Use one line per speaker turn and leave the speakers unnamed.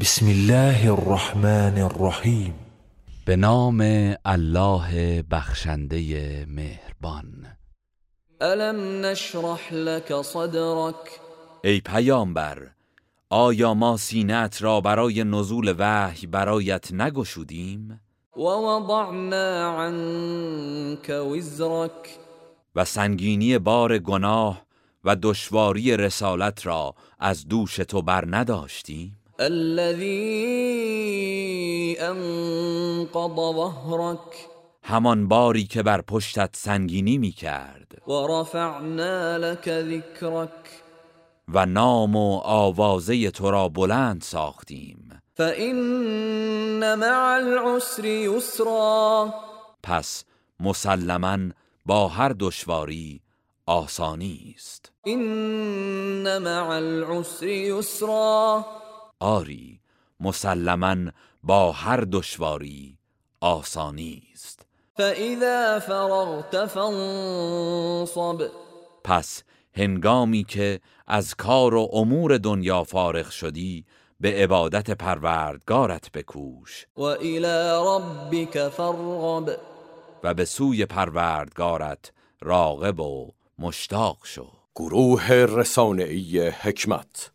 بسم الله الرحمن الرحیم
به نام الله بخشنده مهربان
ألم نشرح لك صدرك
ای پیامبر آیا ما سینت را برای نزول وحی برایت نگشودیم
ووضعنا عنك وزرك
و سنگینی بار گناه و دشواری رسالت را از دوش تو بر نداشتیم
الذي أنقض ظهرك
همان باری که بر پشتت سنگینی می کرد
ورفعنا لك ذكرك
و نام و آوازه تو را بلند ساختیم
فإن مع العسر يسرا
پس مسلما با هر دشواری آسانی است
إن مع العسر يسرا
آری مسلما با هر دشواری آسانی است
فإذا فرغت فانصب
پس هنگامی که از کار و امور دنیا فارغ شدی به عبادت پروردگارت بکوش
وإلى ربك فارغب
و به سوی پروردگارت راغب و مشتاق شو
گروه رسانه‌ای حکمت